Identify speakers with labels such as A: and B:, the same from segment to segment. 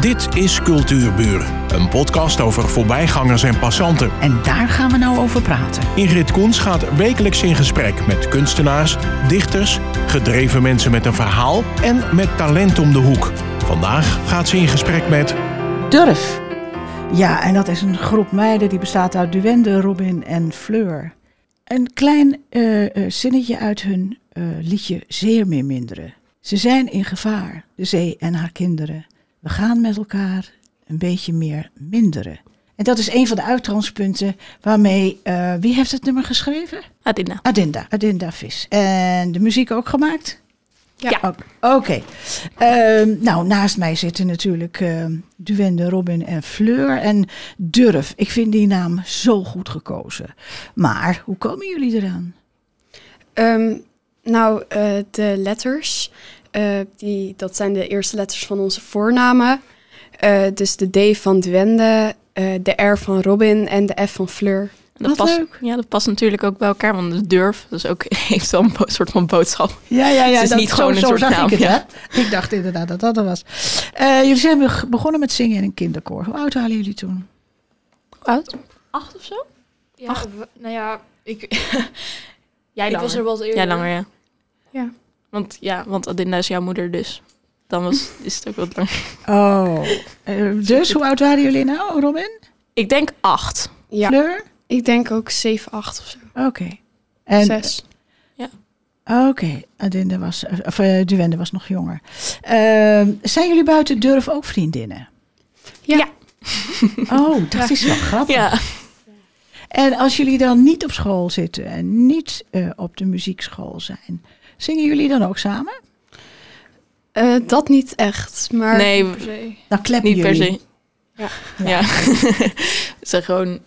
A: Dit is Cultuurburen, een podcast over voorbijgangers en passanten.
B: En daar gaan we nou over praten.
A: Ingrid Koens gaat wekelijks in gesprek met kunstenaars, dichters, gedreven mensen met een verhaal en met talent om de hoek. Vandaag gaat ze in gesprek met
B: Durf.
C: Ja, en dat is een groep meiden die bestaat uit Duwende, Robin en Fleur. Een klein eh, eh, zinnetje uit hun eh, liedje Zeer meer minderen. Ze zijn in gevaar, de zee en haar kinderen. We gaan met elkaar een beetje meer minderen. En dat is een van de uitgangspunten waarmee... eh, wie heeft het nummer geschreven?
D: Adina.
C: Adinda. Adinda Vis. En de muziek ook gemaakt?
D: Ja.
C: Oké. Oké. Ehm, nou, naast mij zitten natuurlijk ehm Duwende, Robin en Fleur. En Durf, ik vind die naam zo goed gekozen. Maar hoe komen jullie eraan?
E: Ehm, nou, eh, de letters, eh, die, dat zijn de eerste letters van onze voornamen. Eh, dus de D van Dwende, eh, de R van Robin en de F van Fleur.
D: En
C: Wat
D: dat past,
C: leuk.
D: Ja, dat past natuurlijk ook bij elkaar, want de durf dus ook, heeft wel een bo- soort van boodschap.
C: Ja, ja, ja.
D: Het is niet gewoon
C: zo,
D: een
C: zo
D: soort
C: zag
D: naam,
C: ik het,
D: ja.
C: hè? Ik dacht inderdaad dat dat er was. Eh, jullie zijn beg- begonnen met zingen in een kinderkoor. Hoe oud waren jullie toen?
D: Oud? Acht of zo?
F: Ja, we- nou ja, ik, ik was er
D: langer.
F: wel eens eerder.
D: Ja, langer, ja.
E: Ja.
D: Want, ja, want Adinda is jouw moeder, dus dan was, is het ook wat langer.
C: Oh. Eh, dus, hoe oud waren jullie nou, Robin?
D: Ik denk acht.
E: Ja,
C: Fleur?
E: ik denk ook 7, 8 of zo.
C: Oké. En
E: 6.
C: Ah, Oké, Adinda was, of, eh, Duwende was nog jonger. Ehm, zijn jullie buiten Durf ook vriendinnen?
E: Ja.
C: Oh, dat is wel grappig.
D: Ja.
C: En als jullie dan niet op school zitten en niet eh, op de muziekschool zijn, zingen jullie dan ook samen?
E: Eh, dat niet echt, maar
D: Nee,
F: per se.
C: Dan kleppen
D: niet per
C: jullie.
D: se.
E: Ja.
D: Ja. Ze gewoon,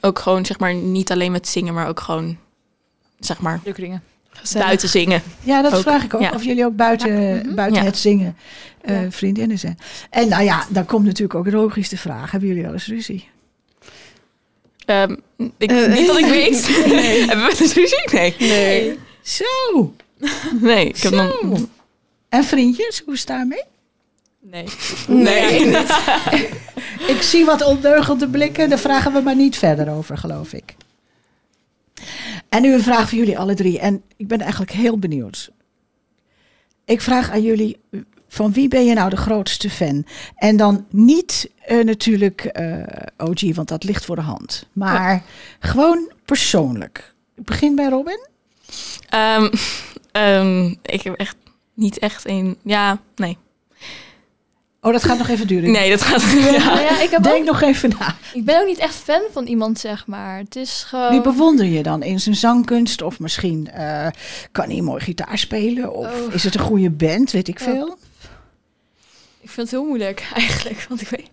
D: ook gewoon, zeg maar, niet alleen met zingen, maar ook gewoon, zeg maar,
F: Drukkeringen.
E: gezellig.
D: buiten zingen.
C: Ja, dat
D: Ook,
C: vraag ik ook.
D: ja.
C: Of jullie ook buiten, buiten
D: Ja.
C: het zingen eh, vriendinnen zijn. En nou ja, dan komt natuurlijk ook logisch de vraag: hebben jullie wel eens ruzie?
D: Ehm, ik,
E: Eh,
D: niet dat ik weet. Hebben we dus ruzie? Nee.
E: Nee.
C: Zo.
D: Nee, ik heb
C: Zo.
D: nog...
C: En vriendjes, hoe sta je mee?
D: Nee.
E: Nee.
C: Ik zie wat ondeugende blikken, daar vragen we maar niet verder over, geloof ik. En nu een vraag voor jullie alle drie. En ik ben eigenlijk heel benieuwd. Ik vraag aan jullie, van wie ben je nou de grootste fan? En dan niet eh, natuurlijk eh, OG, want dat ligt voor de hand. Maar gewoon persoonlijk. Ik begin bij Robin.
D: Ehm, ehm, ik heb echt niet echt een... Ja, nee.
C: Oh, dat gaat nog even duren.
D: Nee, dat gaat...
F: Nou
D: Ja.
F: ja, ik, heb
C: Denk
F: ook,
C: nog even na.
F: ik ben ook niet echt fan van iemand, zeg maar. Het is
C: Wie
F: gewoon...
C: bewonder je dan in zijn zangkunst? Of misschien eh, kan hij mooi gitaar spelen? Of
F: Oh.
C: is het een goede band? Weet ik
F: Ja.
C: veel.
F: Ik vind het heel moeilijk, eigenlijk. Want ik weet...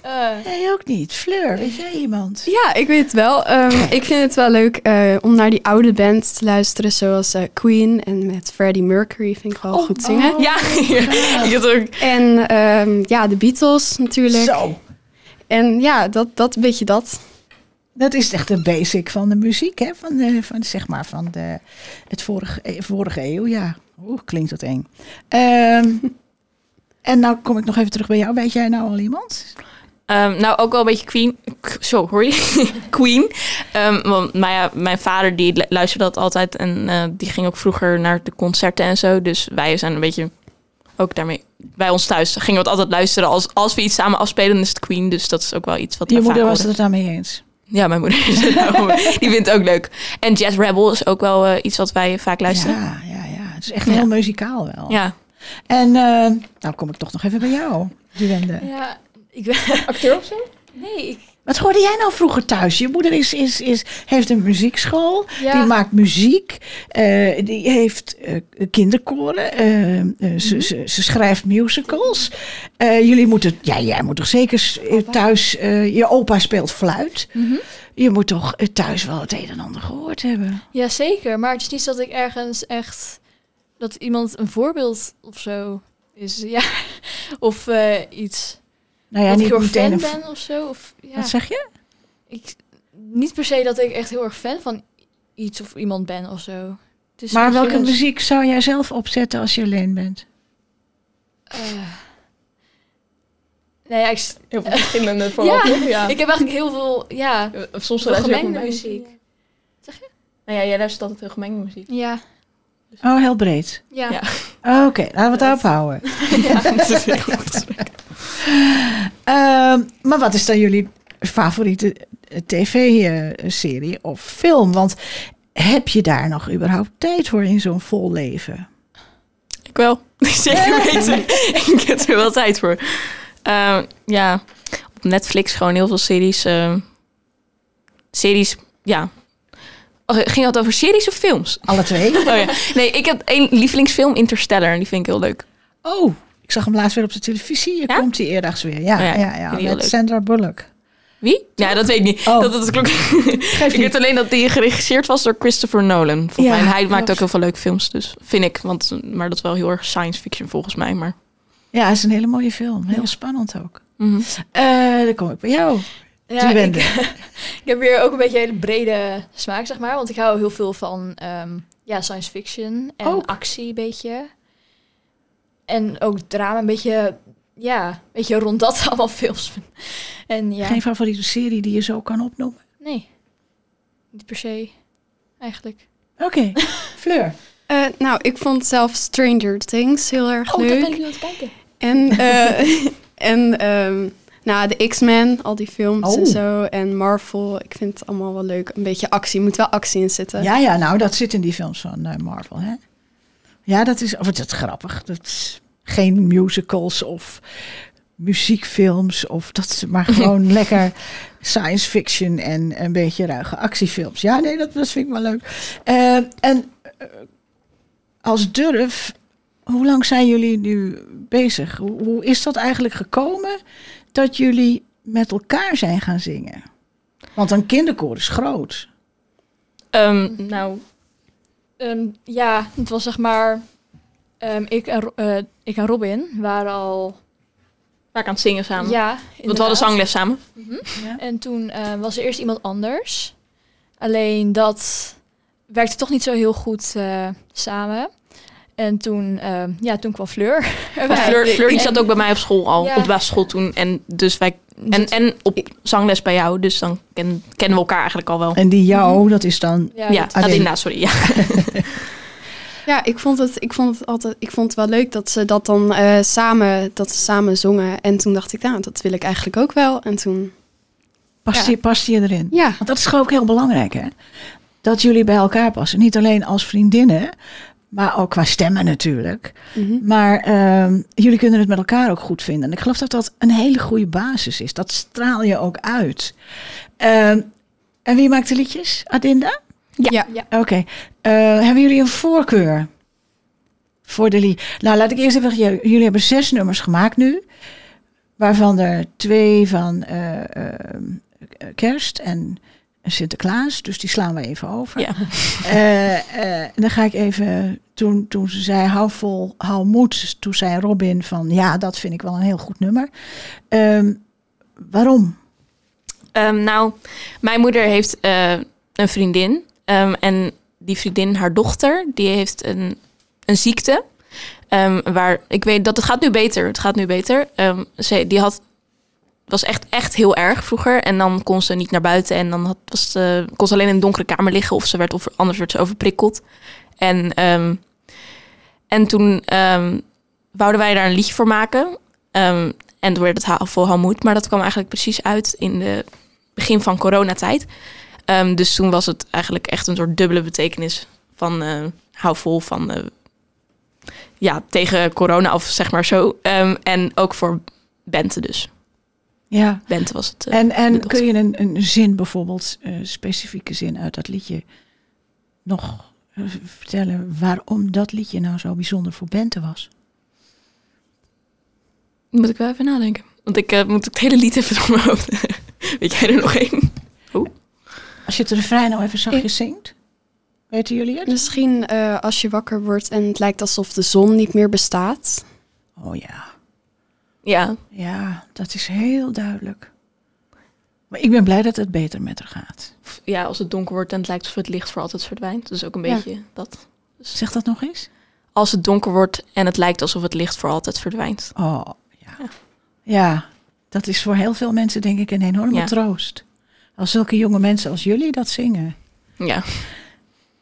F: Eh,
C: Nee, ook niet. Fleur, weet jij iemand?
E: Ja, ik weet het wel. Ehm, ik vind het wel leuk eh, om naar die oude bands te luisteren, zoals eh, Queen en met Freddie Mercury vind ik wel goed zingen.
C: Oh,
D: Ja, ik had ook...
E: En ehm, ja, de Beatles natuurlijk.
C: Zo.
E: En ja, dat, dat een beetje dat.
C: Dat is echt de basic van de muziek, hè? Van, de, van, zeg maar, van de, het vorige, eh, vorige eeuw. Ja, oeh, klinkt dat eng. Ehm, en nou kom ik nog even terug bij jou. Weet jij nou al iemand?
D: Ehm, nou, ook wel een beetje Queen. K- Zo, hoor je? Queen. Ehm, want nou ja, mijn vader die lu- luisterde dat altijd. En eh, die ging ook vroeger naar de concerten en zo. Dus wij zijn een beetje ook daarmee... Bij ons thuis gingen we het altijd luisteren. Als, als we iets samen afspelen, dan is het Queen. Dus dat is ook wel iets wat
C: Je
D: wij
C: moeder
D: vaak
C: was
D: horen.
C: het er daarmee eens.
D: Ja, mijn moeder is het ook. Die vindt het ook leuk. En Jazz Rebel is ook wel eh, iets wat wij vaak luisteren.
C: Ja, ja, ja. Het is echt
D: Ja.
C: heel muzikaal wel.
D: Ja.
C: En ehm, nou kom ik toch nog even bij jou, Duwende.
F: ja, ik ben... Acteur of zo? Nee, ik...
C: Wat hoorde jij nou vroeger thuis? Je moeder is, is, is, heeft een muziekschool.
F: Ja.
C: Die maakt muziek. eh, die heeft eh, kinderkoren. eh, eh,
F: Mhm.
C: ze, ze, ze schrijft musicals. Eh, jullie moeten, ja, jij moet toch zeker s- eh, thuis. eh, je opa speelt fluit.
F: Mhm.
C: Je moet toch eh, thuis wel het een en ander gehoord hebben.
F: Ja, zeker. Maar het is niet dat ik ergens echt... Dat iemand een voorbeeld of zo is. Ja. Of eh, iets.
C: Nou ja,
F: dat ik
C: niet
F: heel erg
C: meteen.
F: fan
C: een v-
F: ben of zo. Of, ja.
C: Wat zeg je?
F: ik, niet per se dat ik echt heel erg fan van iets of iemand ben of zo. Het is
C: Maar
F: misschien
C: welke
F: een-
C: muziek zou jij zelf opzetten als je alleen bent?
F: eh, Nee, ja, ik, s-
D: Heel veel verschillende
F: ja,
D: voorbeelden. Ja.
F: ik heb eigenlijk heel veel, ja,
D: Of soms
F: veel
D: luister ik ook
F: gemengde
D: naar
F: muziek.
D: Nou ja, jij luistert altijd heel gemengde muziek.
F: Ja, Dus-
C: Oh, heel breed.
F: ja.
D: Ja.
C: Ah, Oké, laten we het daarop houden. Ehm, maar wat is dan jullie favoriete eh, tv-serie of film? Want heb je daar nog überhaupt tijd voor in zo'n vol leven?
D: Ik wel. Zeker weten. ik heb er wel tijd voor. Ehm, ja, op Netflix gewoon heel veel series. ehm, series, ja. Oh, ging dat over series of films?
C: Alle twee?
D: Oh, ja. Nee, ik heb één lievelingsfilm, Interstellar. En die vind ik heel leuk.
C: Oh, ik zag hem laatst weer op de televisie. Hier
D: Ja?
C: komt hij eerdags weer. Ja,
D: Oh ja,
C: ja, ja,
D: vind ik heel
C: met
D: leuk.
C: Sandra Bullock.
D: Wie? Ja, dat weet ik niet.
C: Oh.
D: Dat, dat klonk... ik
C: niet.
D: weet alleen dat die geregisseerd was door Christopher Nolan. Volgens
C: Ja,
D: mij. En hij maakt
C: klopt.
D: ook heel veel leuke films, dus vind ik. Want, maar dat is wel heel erg science fiction volgens mij. Maar,
C: Ja, is een hele mooie film. Heel
D: Ja.
C: spannend ook.
D: Mhm.
C: Eh dan kom ik bij jou.
F: Ja,
C: Die
F: ik, ik heb weer ook een beetje een hele brede smaak, zeg maar. Want ik hou heel veel van ehm, ja, science fiction en
C: Ook.
F: actie een beetje. En ook drama een beetje, ja, een beetje rond dat allemaal films. En ja,
C: Geen favoriete serie die je zo kan opnoemen?
F: nee, niet per se eigenlijk.
C: Oké, Fleur.
E: Eh, nou, ik vond zelf Stranger Things heel erg leuk.
F: nu aan het kijken.
E: En, eh, en ehm, nou, de X-Men, al die films
C: Oh.
E: en zo. En Marvel, ik vind het allemaal wel leuk. Een beetje actie, moet wel actie in zitten.
C: Ja, ja, nou, dat zit in die films van eh, Marvel, hè? Ja, dat is, of, dat is grappig. Dat is geen musicals of muziekfilms of dat, is maar gewoon lekker science fiction en een beetje ruige actiefilms. Ja, nee, dat, dat vind ik wel leuk. Eh, en eh, als durf, hoe lang zijn jullie nu bezig? Hoe, hoe is dat eigenlijk gekomen dat jullie met elkaar zijn gaan zingen? Want een kinderkoor is groot.
D: Ehm, nou,
F: Ehm, ja, het was zeg maar, ehm, ik, en, Ro- eh, ik en Robin waren al,
D: waar ik aan het zingen samen.
F: ja,
D: Want we hadden
F: inderdaad.
D: zangles samen.
F: Mhm. En toen eh, was er eerst iemand anders. Alleen dat werkte toch niet zo heel goed eh, samen. En toen, eh, ja, toen kwam Fleur.
D: Want
F: erbij.
D: Fleur, Fleur die
F: En-
D: zat ook bij mij op school al,
F: Ja.
D: op de basisschool toen. En, dus wij, en, en op zangles bij jou, dus dan ken- kennen we elkaar eigenlijk al wel.
C: En die jou, dat is dan.
F: Ja,
D: Ja,
F: ja.
D: ja
F: Dat,
C: Alleen.
D: inderdaad, sorry. Ja.
E: Ja, ik vond het, ik vond het altijd, ik vond het wel leuk dat ze dat dan eh, samen, dat ze samen zongen. En toen dacht ik, nou, dat wil ik eigenlijk ook wel. En toen,
C: Past,
E: Ja.
C: je, past je erin?
E: ja,
C: Want dat is gewoon ook heel belangrijk, hè? Dat jullie bij elkaar passen. Niet alleen als vriendinnen, maar ook qua stemmen natuurlijk.
E: mhm.
C: Maar ehm, jullie kunnen het met elkaar ook goed vinden. En ik geloof dat dat een hele goede basis is. Dat straal je ook uit. Ehm, en wie maakt de liedjes? Adinda?
D: Ja.
E: Ja.
F: Ja.
C: Oké. Eh, hebben jullie een voorkeur voor de lied? Nou, laat ik eerst even... j- Jullie hebben zes nummers gemaakt nu. Waarvan er twee van eh, ehm, kerst en Sinterklaas. Dus die slaan we even over.
D: Ja.
C: Eh, eh, dan ga ik even, toen, toen ze zei hou vol, hou moed, toen zei Robin van ja, dat vind ik wel een heel goed nummer. Ehm, waarom?
D: Ehm, nou, mijn moeder heeft eh, een vriendin. Ehm, en die vriendin, haar dochter, die heeft een, een ziekte. Ehm, waar ik weet dat het gaat nu beter. Het gaat nu beter. Ehm, ze, die had was echt, echt heel erg vroeger. En dan kon ze niet naar buiten. En dan had, was ze, kon ze alleen in een donkere kamer liggen. Of ze werd over, anders werd ze overprikkeld. En, ehm, en toen ehm, wouden wij daar een liedje voor maken. Ehm, en toen werd het ha- vol Hamoed. Maar dat kwam eigenlijk precies uit in de begin van coronatijd. Ehm, dus toen was het eigenlijk echt een soort dubbele betekenis van eh, hou vol van eh, ja, tegen corona of zeg maar zo. Ehm, en ook voor Bente dus.
C: Ja.
D: Bente was het. eh,
C: En, en
D: bedoeld.
C: kun je een, een zin bijvoorbeeld, eh, specifieke zin uit dat liedje, nog eh, vertellen waarom dat liedje nou zo bijzonder voor Bente was?
D: Moet ik wel even nadenken. Want ik eh, moet het hele lied even door mijn hoofd. Weet jij er nog één?
C: Als je het refrein nou even zachtjes zingt, weten jullie het?
E: misschien eh, als je wakker wordt en het lijkt alsof de zon niet meer bestaat.
C: Oh ja.
D: Ja.
C: Ja, dat is heel duidelijk. Maar ik ben blij dat het beter met haar gaat.
D: Of, ja, als het donker wordt en het lijkt alsof het licht voor altijd verdwijnt. Dus ook een
E: Ja.
D: beetje dat.
C: Zeg dat nog eens?
D: Als het donker wordt en het lijkt alsof het licht voor altijd verdwijnt.
C: Oh, ja. Ja, Dat is voor heel veel mensen denk ik een enorme
D: Ja.
C: troost. Als zulke jonge mensen als jullie dat zingen.
D: Ja.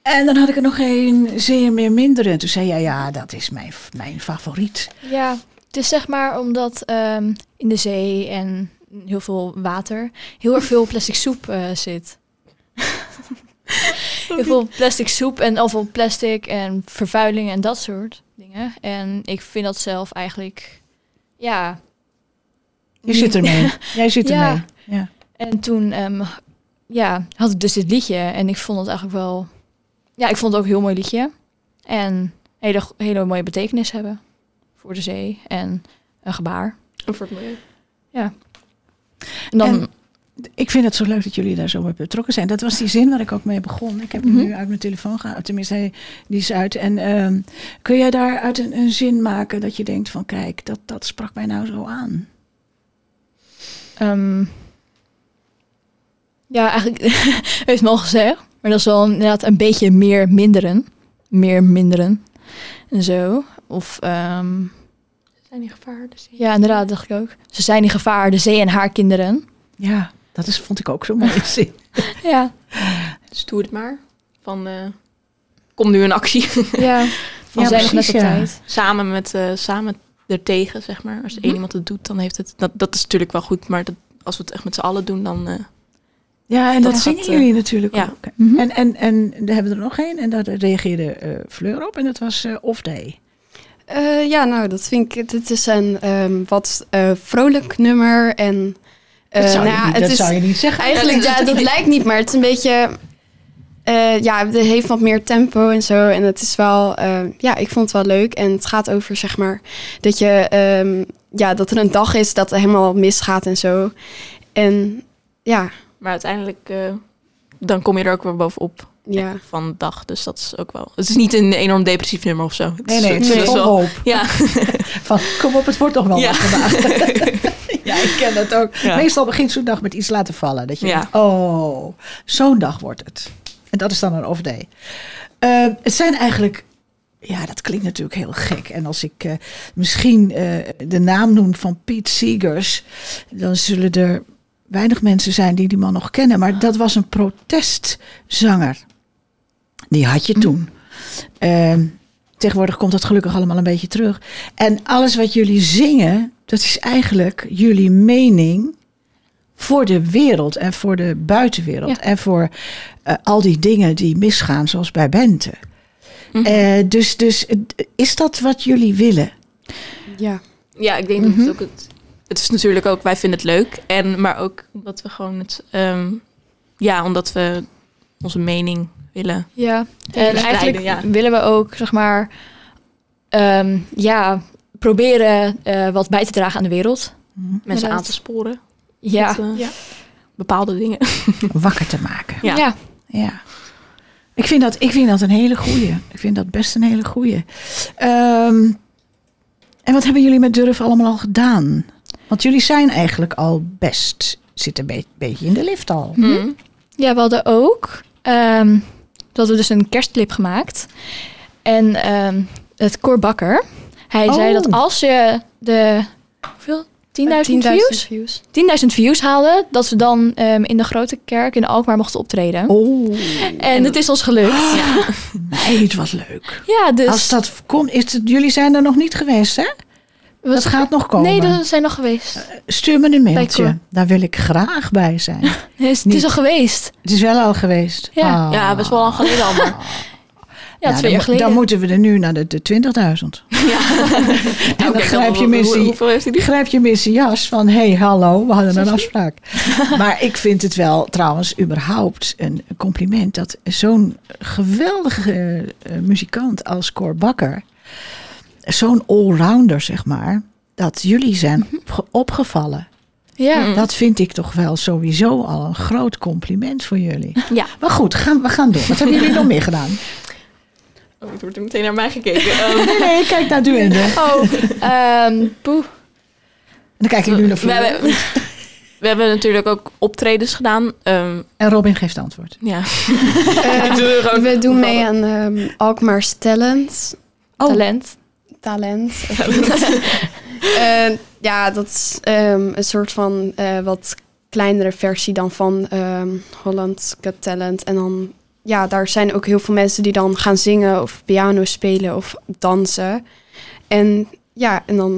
C: En dan had ik er nog één, zeer meer minder. En toen zei jij, ja, dat is mijn, mijn favoriet.
F: Ja, het is zeg maar omdat ehm, in de zee en heel veel water heel erg veel plastic soep eh, zit. heel veel plastic soep en al veel plastic en vervuiling en dat soort dingen. En ik vind dat zelf eigenlijk, ja.
C: Je zit ermee. Jij zit
F: Ja.
C: ermee. Ja.
F: En toen ehm, ja, had ik dus dit liedje en ik vond het eigenlijk wel, ja, ik vond het ook een heel mooi liedje. En hele, hele mooie betekenis hebben voor de zee en een gebaar.
D: Voor het milieu.
F: En dan,
C: En- Ik vind het zo leuk dat jullie daar zo bij betrokken zijn. Dat was die zin waar ik ook mee begon. Ik heb hem
F: Mhm.
C: nu uit mijn telefoon gehaald. Tenminste, hij- die is uit. En ehm, kun jij daaruit een, een zin maken dat je denkt van... kijk, dat, dat sprak mij nou zo aan.
F: ehm, ja, eigenlijk heeft me al gezegd. Maar dat is wel inderdaad een beetje meer minderen. Meer minderen. En zo. Of, ehm,
D: Zijn die gevaren? Dus die-
F: ja, inderdaad, dacht ik ook. Ze zijn in gevaar, de zee en haar kinderen.
C: Ja, dat is, vond ik ook zo'n mooie zin.
F: Ja,
D: Dus doe het maar. Van, eh, kom nu in actie.
F: ja. Van
C: Ja,
F: zijn nog net
C: precies,
F: op
C: ja.
F: tijd.
D: samen met, eh samen ertegen, zeg maar. Als de één iemand het doet, dan heeft het... Dat, dat is natuurlijk wel goed, maar dat, als we het echt met z'n allen doen, dan... eh,
C: Ja, en dat,
D: Dat
C: zingen
D: gaat, eh,
C: jullie natuurlijk
D: ja.
C: ook.
F: Mhm.
C: En, en, en daar hebben we er nog één. En daar reageerde eh, Fleur op. En dat was eh Off Day.
E: Eh, ja, nou, dat vind ik. Dit is een ehm, wat eh, vrolijk nummer. En, eh,
C: dat zou,
E: nou
C: je,
E: ja,
C: niet,
E: het
C: dat
E: is
C: zou je niet zeggen.
E: Eigenlijk, ja, dat lijkt niet, maar het is een beetje. eh, ja, het heeft wat meer tempo en zo. En het is wel. eh, ja, ik vond het wel leuk. En het gaat over, zeg maar, dat je. ehm, ja, dat er een dag is dat er helemaal misgaat en zo. En ja,
D: maar uiteindelijk, eh, dan kom je er ook weer bovenop
E: ja.
D: van de dag. Dus dat is ook wel... Het is niet een enorm depressief nummer of zo. Het
C: Nee,
D: is-
C: nee, het is
E: Nee.
C: vol
D: wel-
C: hoop.
D: Ja,
C: Van, kom op, het wordt toch wel
D: Ja.
C: wat vandaag. ja, ik ken dat ook.
D: Ja.
C: Meestal begint zo'n dag met iets laten vallen. Dat je
D: Ja.
C: denkt, oh, zo'n dag wordt het. En dat is dan een off day. Eh, het zijn eigenlijk... Ja, dat klinkt natuurlijk heel gek. En als ik eh, misschien eh, de naam noem van Pete Seegers... dan zullen er weinig mensen zijn die die man nog kennen. Maar dat was een protestzanger. Die had je toen. Ehm, tegenwoordig komt dat gelukkig allemaal een beetje terug. En alles wat jullie zingen, dat is eigenlijk jullie mening voor de wereld en voor de buitenwereld.
F: Ja.
C: En voor eh, al die dingen die misgaan, zoals bij Bente.
D: Mhm.
C: Eh, dus dus eh, is dat wat jullie willen?
E: ja.
D: ja ik denk dat het ook het... Mhm. Het is natuurlijk ook, wij vinden het leuk. En, maar ook omdat we gewoon het... ehm, ja, omdat we onze mening willen.
F: Ja, en
D: Verspreiden,
C: dus
F: eigenlijk
D: ja.
F: willen we ook, zeg maar, ehm, ja, proberen eh, wat bij te dragen aan de wereld.
D: Mensen
F: Inderdaad.
D: aan te sporen.
F: Ja.
D: Met, eh, Bepaalde dingen.
C: Wakker te maken.
D: Ja.
F: ja.
C: Ja. Ik vind dat, ik vind dat een hele goeie. Ik vind dat best een hele goeie. Ehm, en wat hebben jullie met Durf allemaal al gedaan? Want jullie zijn eigenlijk al best... Zit een be- beetje in de lift al.
D: Mhm.
F: Ja, we hadden ook ehm, dat we dus een kerstclip gemaakt. En ehm, het Cor Bakker, hij
C: Oh. Eh,
F: zei dat als je de hoeveel? 10.000 views? 10.000 views haalde, dat ze dan ehm, in de grote kerk in Alkmaar mochten optreden.
C: Oh,
F: En het is ons gelukt.
D: Ja.
C: meid, wat leuk.
F: Ja, dus
C: Als dat komt... Is het, jullie zijn er nog niet geweest, hè? Dat gaat nog komen.
F: Nee, dat zijn nog
C: Eh,
F: geweest.
C: Stuur me een mailtje.
F: Cor.
C: Daar wil ik graag bij zijn.
F: Nee, het is- het
C: niet.
F: is al geweest.
C: het is wel al geweest.
F: Ja.
C: Ah.
D: ja, best wel lang geleden allemaal.
F: Ja,
C: Nou, dan,
F: twee jaar
C: mo-
F: geleden.
C: Dan moeten we er nu naar de, de 20.000. dan
D: Oké,
C: grijp je
D: hoe-
C: mensen-
D: hoe- Hoeveel heeft hij
C: Die
D: die?
C: grijp je hem in zijn jas van... hé, hey, hallo, we hadden een afspraak. maar ik vind het wel trouwens überhaupt een compliment... dat zo'n geweldige eh, muzikant als Cor Bakker... zo'n allrounder, zeg maar... dat jullie zijn
F: Mhm.
C: opge- opgevallen.
F: Ja.
D: Mm.
C: Dat vind ik toch wel sowieso al een groot compliment voor jullie.
D: Ja.
C: Maar goed, gaan, we gaan door. Wat hebben jullie nog meer gedaan?
D: Oh, het wordt meteen naar mij gekeken. Ehm,
C: Nee, nee, kijk naar Duende. En
F: Oh, ehm, poeh.
C: dan kijk ik nu naar
D: we,
C: Fleur.
D: hebben, we hebben natuurlijk ook optredens gedaan. Ehm,
C: En Robin geeft antwoord.
D: ja.
E: Eh,
D: doen we gewoon
E: we doen mee
D: toevallig.
E: aan ehm Alkmaar's Talent.
C: Oh.
F: Talent.
E: Talent. Eh, ja, dat is ehm, een soort van eh, wat kleinere versie dan van ehm Holland Got Talent. En dan, ja, daar zijn ook heel veel mensen die dan gaan zingen of piano spelen of dansen. En ja, en dan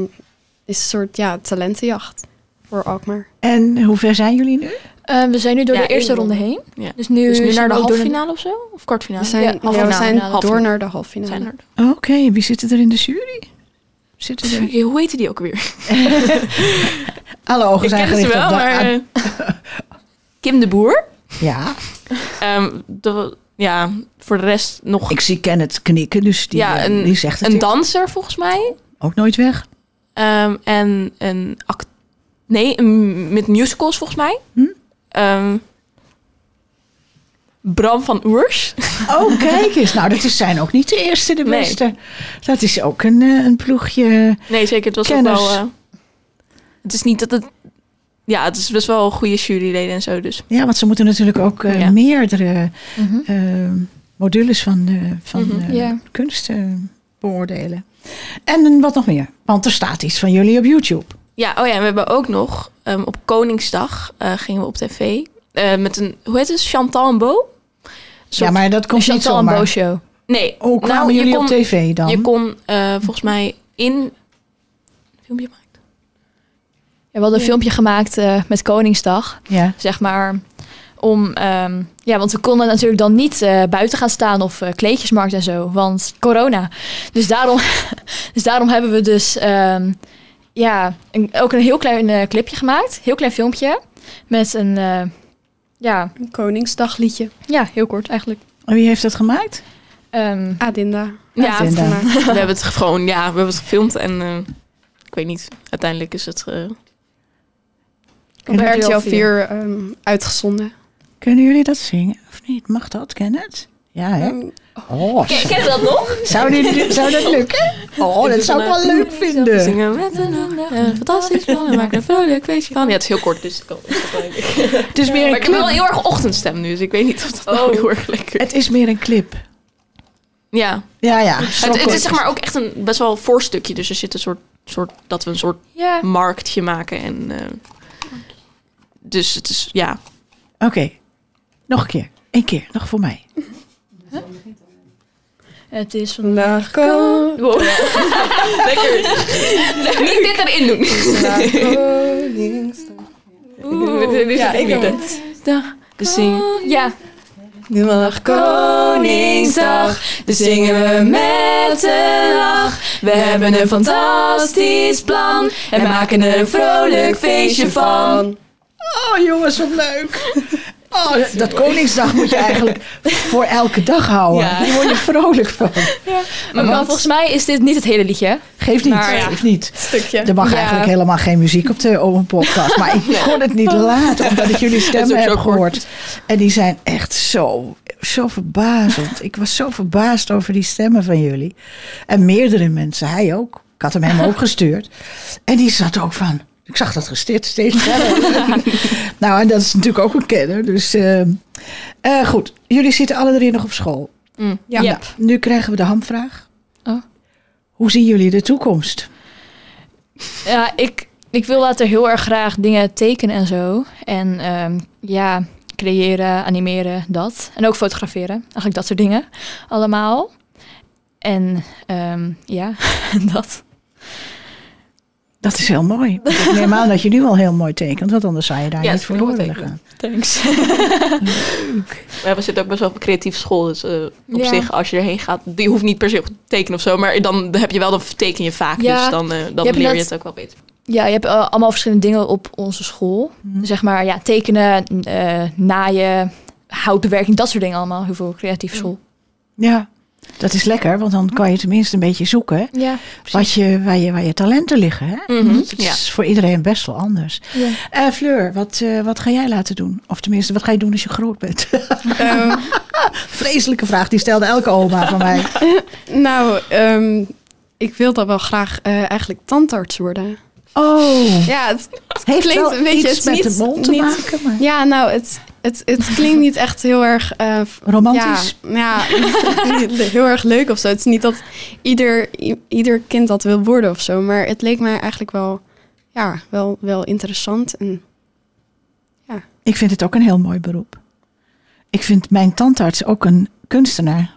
E: is het een soort ja, talentenjacht voor Alkmaar.
C: En hoe ver zijn jullie nu?
F: Eh, we zijn nu door
D: Ja,
F: de eerste
D: één
F: ronde
D: ronde.
F: heen.
D: Ja.
F: Dus nu,
D: Dus nu
F: zijn
D: naar
F: we
D: de
F: ook door
D: halffinale of zo? Of
E: We
D: kwartfinale?
E: zijn,
F: Ja,
E: ja, we
F: halffinale.
E: zijn
D: Halffinale.
E: door naar de halve finale.
D: Zijn er.
C: Oké, wie zitten er in de jury? Zitten er...
D: Pff, Hoe heette die ook weer?
C: Alle ogen
D: Ik
C: zijn
D: ken ze
C: gericht
D: wel,
C: op dat-
D: maar...
C: aan-
D: eh, Kim de Boer.
C: Ja,
D: Ehm, de- ja, voor de rest nog
C: ik zie Kenneth knikken, dus die,
D: Ja,
C: eh,
D: een-
C: die zegt het
D: een
C: hier.
D: danser volgens mij.
C: ook nooit weg.
D: Ehm, en een act... Nee, een- met musicals volgens mij.
C: Hm?
D: Ehm, Bram van Oers.
C: Oh, kijk eens. Nou, dat is zijn ook niet de eerste, de
D: Nee.
C: beste. Dat is ook een, eh, een ploegje.
D: Nee, zeker. Het was
C: Kenners.
D: ook wel... eh, het is niet dat het... Ja, het is best wel goede juryleden en zo, dus...
C: Ja, want ze moeten natuurlijk ook eh,
D: Ja.
C: meerdere
F: Mhm.
C: eh, modules van, eh, van
D: Mhm,
C: eh,
F: ja.
C: kunst eh, beoordelen. En wat nog meer? Want er staat iets van jullie op YouTube.
D: Ja, oh ja, en we hebben ook nog... ehm, op Koningsdag eh, gingen we op tv. eh, met een... Hoe heet het? Chantal en Bo?
C: ja, maar dat komt niet
F: Chantal en
C: zomaar.
F: Bo show.
D: Nee.
C: Hoe kwamen
D: nou, je
C: jullie op
D: kon-
C: tv dan?
D: Je kon eh, volgens mij in... Filmpje maken?
F: Ja, we hadden een filmpje gemaakt eh, met Koningsdag,
C: ja.
F: zeg maar. Om, ehm, ja, want we konden natuurlijk dan niet eh, buiten gaan staan of eh, kleedjesmarkt en zo, want corona. Dus daarom, dus daarom hebben we dus ehm, ja, een- ook een heel klein eh, clipje gemaakt, heel klein filmpje. Met een, eh, ja,
E: Een Koningsdagliedje.
F: ja, heel kort eigenlijk.
C: En wie heeft dat gemaakt?
F: Ehm,
E: Adinda.
D: Ja,
C: Adinda.
E: Adinda.
D: we hebben het gewoon, ja, we hebben het gefilmd en eh, ik weet niet, uiteindelijk is het. eh,
E: Op
F: RTL
E: RTL
F: 4,
E: 4 ehm, uitgezonden.
C: Kunnen jullie dat zingen of niet? Mag dat, Kenneth? Ja, hè?
E: Ehm,
C: Oh,
D: Ken je dat nog?
C: zou, dit- zou dat lukken? Oh, dat zou ik wel leuk vinden.
D: Zingen met een eh, fantastisch plan en maak er een vrolijk feestje van. Ja, het is heel kort, dus ik kan is wel leuk.
C: Het is meer
D: Maar
C: een
D: ik heb wel
C: clip.
D: heel erg ochtendstem nu, dus ik weet niet of dat
C: Oh.
D: nou heel erg lekker
C: Het is meer een clip.
D: Ja,
C: Ja, ja.
D: het, het is zeg maar ook echt een best wel een voorstukje, dus er zit een soort, soort dat we een soort
F: ja,
D: marktje maken en. eh, dus het is, ja.
C: Oké, nog een keer. Eén keer, nog voor mij.
F: het is
E: Vandaag
D: Wow. Lekker. Niet dit erin doen. Dit is het niet.
F: Ja,
E: Vandaag Koningsdag, dus zingen we met een lach. We hebben een fantastisch plan en maken er een vrolijk feestje van.
C: Oh jongens, wat leuk. Oh, dat- dat Koningsdag moet je eigenlijk voor elke dag houden.
D: Ja.
C: Daar word je vrolijk van.
F: maar
C: Want-
F: volgens mij is dit niet het hele liedje.
C: Geeft niet,
D: Nou
F: Maar ja.
C: geeft niet.
E: Stukje.
C: Er mag
F: Ja.
C: eigenlijk helemaal geen muziek op de Open Podcast. Maar ik kon het niet laten, omdat ik jullie stemmen
D: Oh. ook
C: heb
D: zo kort.
C: gehoord. En die zijn echt zo, zo verbazend. Ik was zo verbaasd over die stemmen van jullie. En meerdere mensen, hij ook. Ik had hem hem ook gestuurd. En die zat ook van... Ik zag dat gesticht steeds verder. nou, en dat is natuurlijk ook een kenner. Dus eh, eh, goed, jullie zitten alle drie nog op school.
D: Mm.
E: Ja.
C: Nou, nu krijgen we de hamvraag.
F: Oh.
C: Hoe zien jullie de toekomst?
F: Ja, ik, ik wil later heel erg graag dingen tekenen en zo. En ehm, ja, creëren, animeren, dat. En ook fotograferen. Eigenlijk dat soort dingen allemaal. En ehm, ja, dat.
C: Dat is heel mooi. Want Ik neem aan dat je nu al heel mooi tekent, want anders zou je daar
D: Ja,
C: niet
D: ik
C: voor
D: vind het
C: door
D: mooi
C: willen gaan.
F: Thanks.
D: Ja, we zitten ook best wel op een creatieve school. Dus eh, op
F: Ja.
D: zich, als je erheen gaat, die hoeft niet per se op te tekenen of zo. Maar dan heb je wel, dan teken je vaak.
F: Ja.
D: Dus dan, eh, dan
F: hebt
D: leer je
F: net-
D: het ook wel beter.
F: Ja, je hebt eh, allemaal verschillende dingen op onze school. Zeg maar, ja, tekenen, eh, naaien, houtbewerking, dat soort dingen allemaal. Heel veel creatieve school.
C: Ja, dat is lekker, want dan kan je tenminste een beetje zoeken
F: Ja,
C: wat je, waar, je, waar je talenten liggen. Hè?
D: Mhm,
C: Dat
D: ja.
C: is voor iedereen best wel anders.
F: Ja.
C: Eh, Fleur, wat, eh, wat ga jij laten doen? Of tenminste, wat ga je doen als je groot bent?
E: Ehm,
C: Vreselijke vraag, die stelde elke oma van mij.
E: nou, ehm, ik wil dan wel graag eh, eigenlijk tandarts worden.
C: Oh,
E: Ja, het,
C: heeft
E: klinkt
C: wel
E: een beetje-
C: iets
E: het is
C: met
E: niet-
C: de mond te
E: niet-
C: maken. Maar...
E: ja nou, het, Het, het klinkt niet echt heel erg... eh, v-
C: Romantisch.
E: Ja, ja heel erg leuk of zo. Het is niet dat ieder, i- ieder kind dat wil worden of zo. Maar het leek mij eigenlijk wel, ja, wel, wel interessant. En
C: Ik vind het ook een heel mooi beroep. Ik vind mijn tandarts ook een kunstenaar.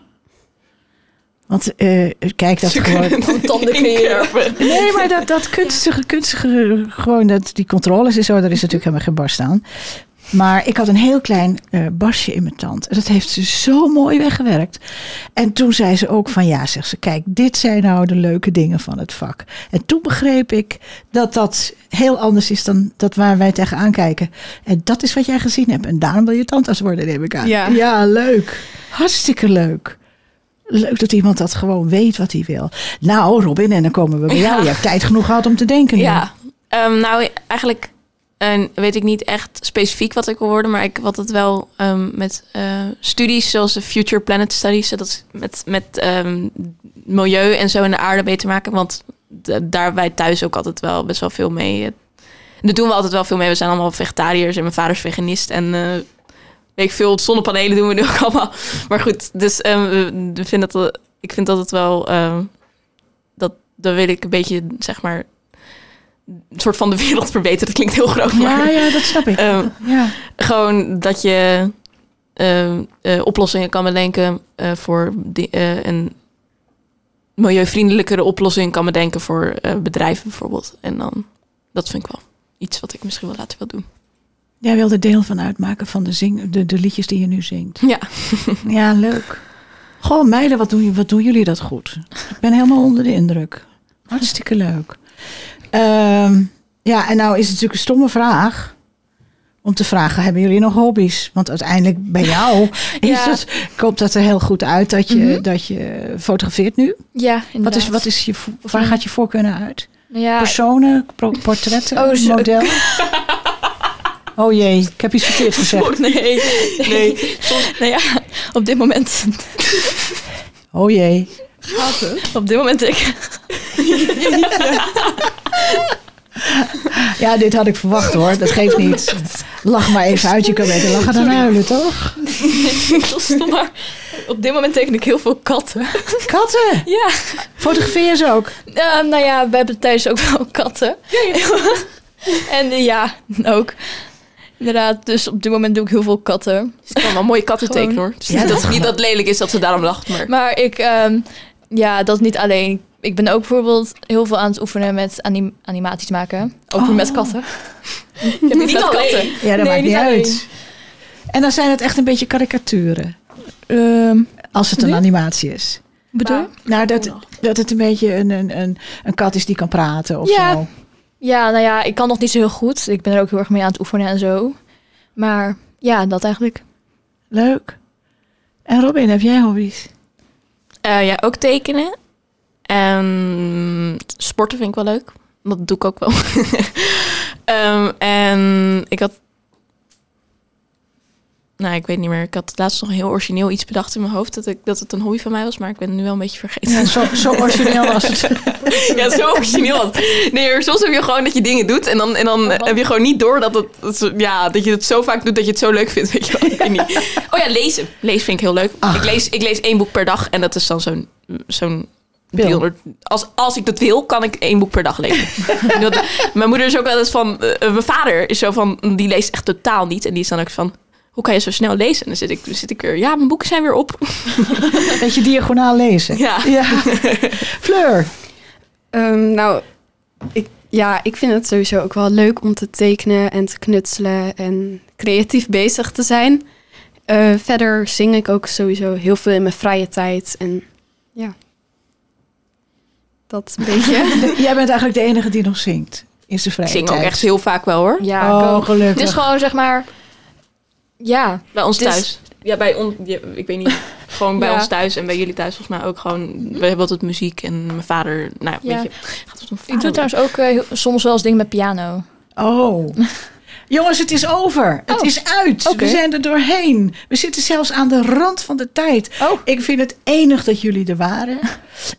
C: Want eh, kijk, dat gewoon. Nee, maar dat, dat kunstige, kunstige, gewoon dat, die controles en zo, daar is natuurlijk helemaal geen barst aan. Maar ik had een heel klein eh barstje in mijn tand. En dat heeft ze zo mooi weggewerkt. En toen zei ze ook van ja, zegt ze, kijk, dit zijn nou de leuke dingen van het vak. En toen begreep ik dat dat heel anders is dan dat waar wij tegenaan kijken. En dat is wat jij gezien hebt. En daarom wil je tandarts worden, neem ik aan.
E: Ja.
C: ja leuk. Hartstikke leuk. Leuk dat iemand dat gewoon weet wat hij wil. Nou, Robin, en dan komen we bij jou.
D: Ja.
C: Je hebt tijd genoeg gehad om te denken. nu.
D: Ja, ehm, nou eigenlijk eh, weet ik niet echt specifiek wat ik wil worden, maar ik had het wel ehm, met eh, studies zoals de Future Planet Studies, dat is met, met ehm, milieu en zo en de aarde mee te maken, want d- daar wij thuis ook altijd wel best wel veel mee. eh, daar doen we altijd wel veel mee. We zijn allemaal vegetariërs en mijn vader is veganist en eh, weet ik veel, zonnepanelen doen we nu ook allemaal. Maar goed, dus ehm, we- we vinden dat, eh, ik vind dat het wel, ehm, dat, dan wil ik een beetje, zeg maar, een soort van de wereld verbeteren. Dat klinkt heel groot, maar
C: Ja, ja, dat snap ik.
D: Ehm,
C: ja.
D: gewoon dat je ehm, eh, oplossingen kan bedenken eh, voor di- eh, een milieuvriendelijkere oplossing kan bedenken voor eh, bedrijven bijvoorbeeld. En dan, dat vind ik wel iets wat ik misschien wel later wil doen.
C: Jij wilde deel van uitmaken van de, zing, de, de liedjes die je nu zingt.
D: Ja.
C: Ja, leuk. Goh, meiden, wat doen, wat doen jullie dat goed? Ik ben helemaal onder de indruk. Hartstikke leuk. Ehm, ja, en nou is het natuurlijk een stomme vraag. Om te vragen, hebben jullie nog hobby's? Want uiteindelijk bij jou is
F: Ja.
C: het, komt dat er heel goed uit dat je,
F: Mhm.
C: dat je fotografeert nu.
F: Ja,
C: Wat is,
F: inderdaad.
C: wat is je, vo- waar gaat je voorkeur naar uit?
F: Nou ja,
C: Personen, pro- portretten,
F: Oh, zo-
C: model. Oh jee, ik heb iets verkeerd gezegd.
F: nee.
D: Nee.
F: nou ja, op dit moment.
C: Oh jee.
F: Op dit moment ik.
C: Ja, dit had ik verwacht hoor. Dat geeft niet. Lach maar even uit. Je kan beter lachen dan huilen, toch?
F: Stom maar. Op dit moment teken ik heel veel katten.
C: Katten.
F: Ja.
C: Fotografeer ze ook.
F: Eh, nou ja, we hebben thuis ook wel katten. en eh, ja, ook. Inderdaad, dus op dit moment doe ik heel veel katten.
D: Ze kan wel mooie katten
F: Gewoon.
D: tekenen hoor. Dus
C: Ja,
D: niet,
C: dat
D: dat, niet dat het lelijk is dat ze daarom lacht, maar...
F: Maar ik, ehm, ja, dat niet alleen. Ik ben ook bijvoorbeeld heel veel aan het oefenen met anim- animaties maken. Ook weer met katten. Ik heb iets met
D: alleen.
F: katten.
C: Oh. Ja, dat
F: Nee,
C: maakt niet
F: niet alleen.
C: uit. En dan zijn het echt een beetje karikaturen.
F: Ehm,
C: Als het een
F: Nee.
C: animatie is.
F: bedoel? Oh,
C: Nou, dat, dat het een beetje een, een, een, een kat is die kan praten of
F: Ja.
C: zo.
F: Ja, nou ja, ik kan nog niet zo heel goed. Ik ben er ook heel erg mee aan het oefenen en zo. Maar ja, dat eigenlijk.
C: Leuk. En Robin, heb jij hobby's?
D: Eh, ja, ook tekenen. En sporten vind ik wel leuk. Dat doe ik ook wel. Ehm, en ik had... Nou, ik weet niet meer. Ik had laatst nog een heel origineel iets bedacht in mijn hoofd. Dat, ik, dat het een hobby van mij was. Maar ik ben het nu wel een beetje vergeten.
C: Ja, zo, zo origineel was het.
D: ja, zo origineel was het. Nee, maar soms heb je gewoon dat je dingen doet. En dan, en dan heb je gewoon niet door dat, het, dat, ze- ja, dat je het zo vaak doet dat je het zo leuk vindt. Weet je wel. Ik weet niet. Ah. Oh ja, lezen. Lezen vind ik heel leuk.
C: Ach.
D: Ik lees, ik lees één boek per dag. En dat is dan zo'n... zo'n
C: Pil.
D: 300 Als, als ik dat wil, kan ik één boek per dag lezen. En dat- mijn moeder is ook wel eens van... eh, eh, mijn vader is zo van... Die leest echt totaal niet. En die is dan ook van... Hoe kan je zo snel lezen? En dan zit ik, dan zit ik weer... Ja, mijn boeken zijn weer op.
C: Een beetje diagonaal lezen.
D: Ja.
C: Fleur.
E: Ehm, nou, ik, ja, ik vind het sowieso ook wel leuk om te tekenen en te knutselen en creatief bezig te zijn. Eh, verder zing ik ook sowieso heel veel in mijn vrije tijd. En ja, dat een beetje.
C: De- jij bent eigenlijk de enige die nog zingt. Is de
D: Ik
C: vrije
D: zing ook
C: tijd.
D: echt heel vaak wel hoor.
F: Ja, ik
C: oh,
F: ook.
C: gelukkig.
F: Het is gewoon zeg maar. Ja,
D: Bij ons
F: Dus-
D: thuis. Ja, bij ons. ik weet niet. Gewoon bij
F: Ja.
D: ons thuis en bij jullie thuis volgens mij ook gewoon. We hebben altijd muziek en mijn vader. Nou, ja,
F: Ja.
D: weet je. Gaat het om vader?
F: ik doe trouwens ook eh, heel- soms wel eens dingen met piano.
C: Oh. Jongens, het is over. Het
F: Oh.
C: is uit.
F: Oké.
C: We zijn er doorheen. We zitten zelfs aan de rand van de tijd.
F: Oh.
C: Ik vind het enig dat jullie er waren.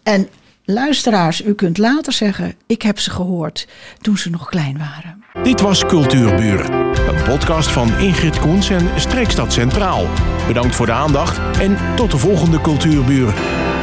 C: En Luisteraars, u kunt later zeggen, ik heb ze gehoord toen ze nog klein waren.
A: Dit was Cultuurburen, een podcast van Ingrid Koens en Streekstad Centraal. Bedankt voor de aandacht en tot de volgende Cultuurburen.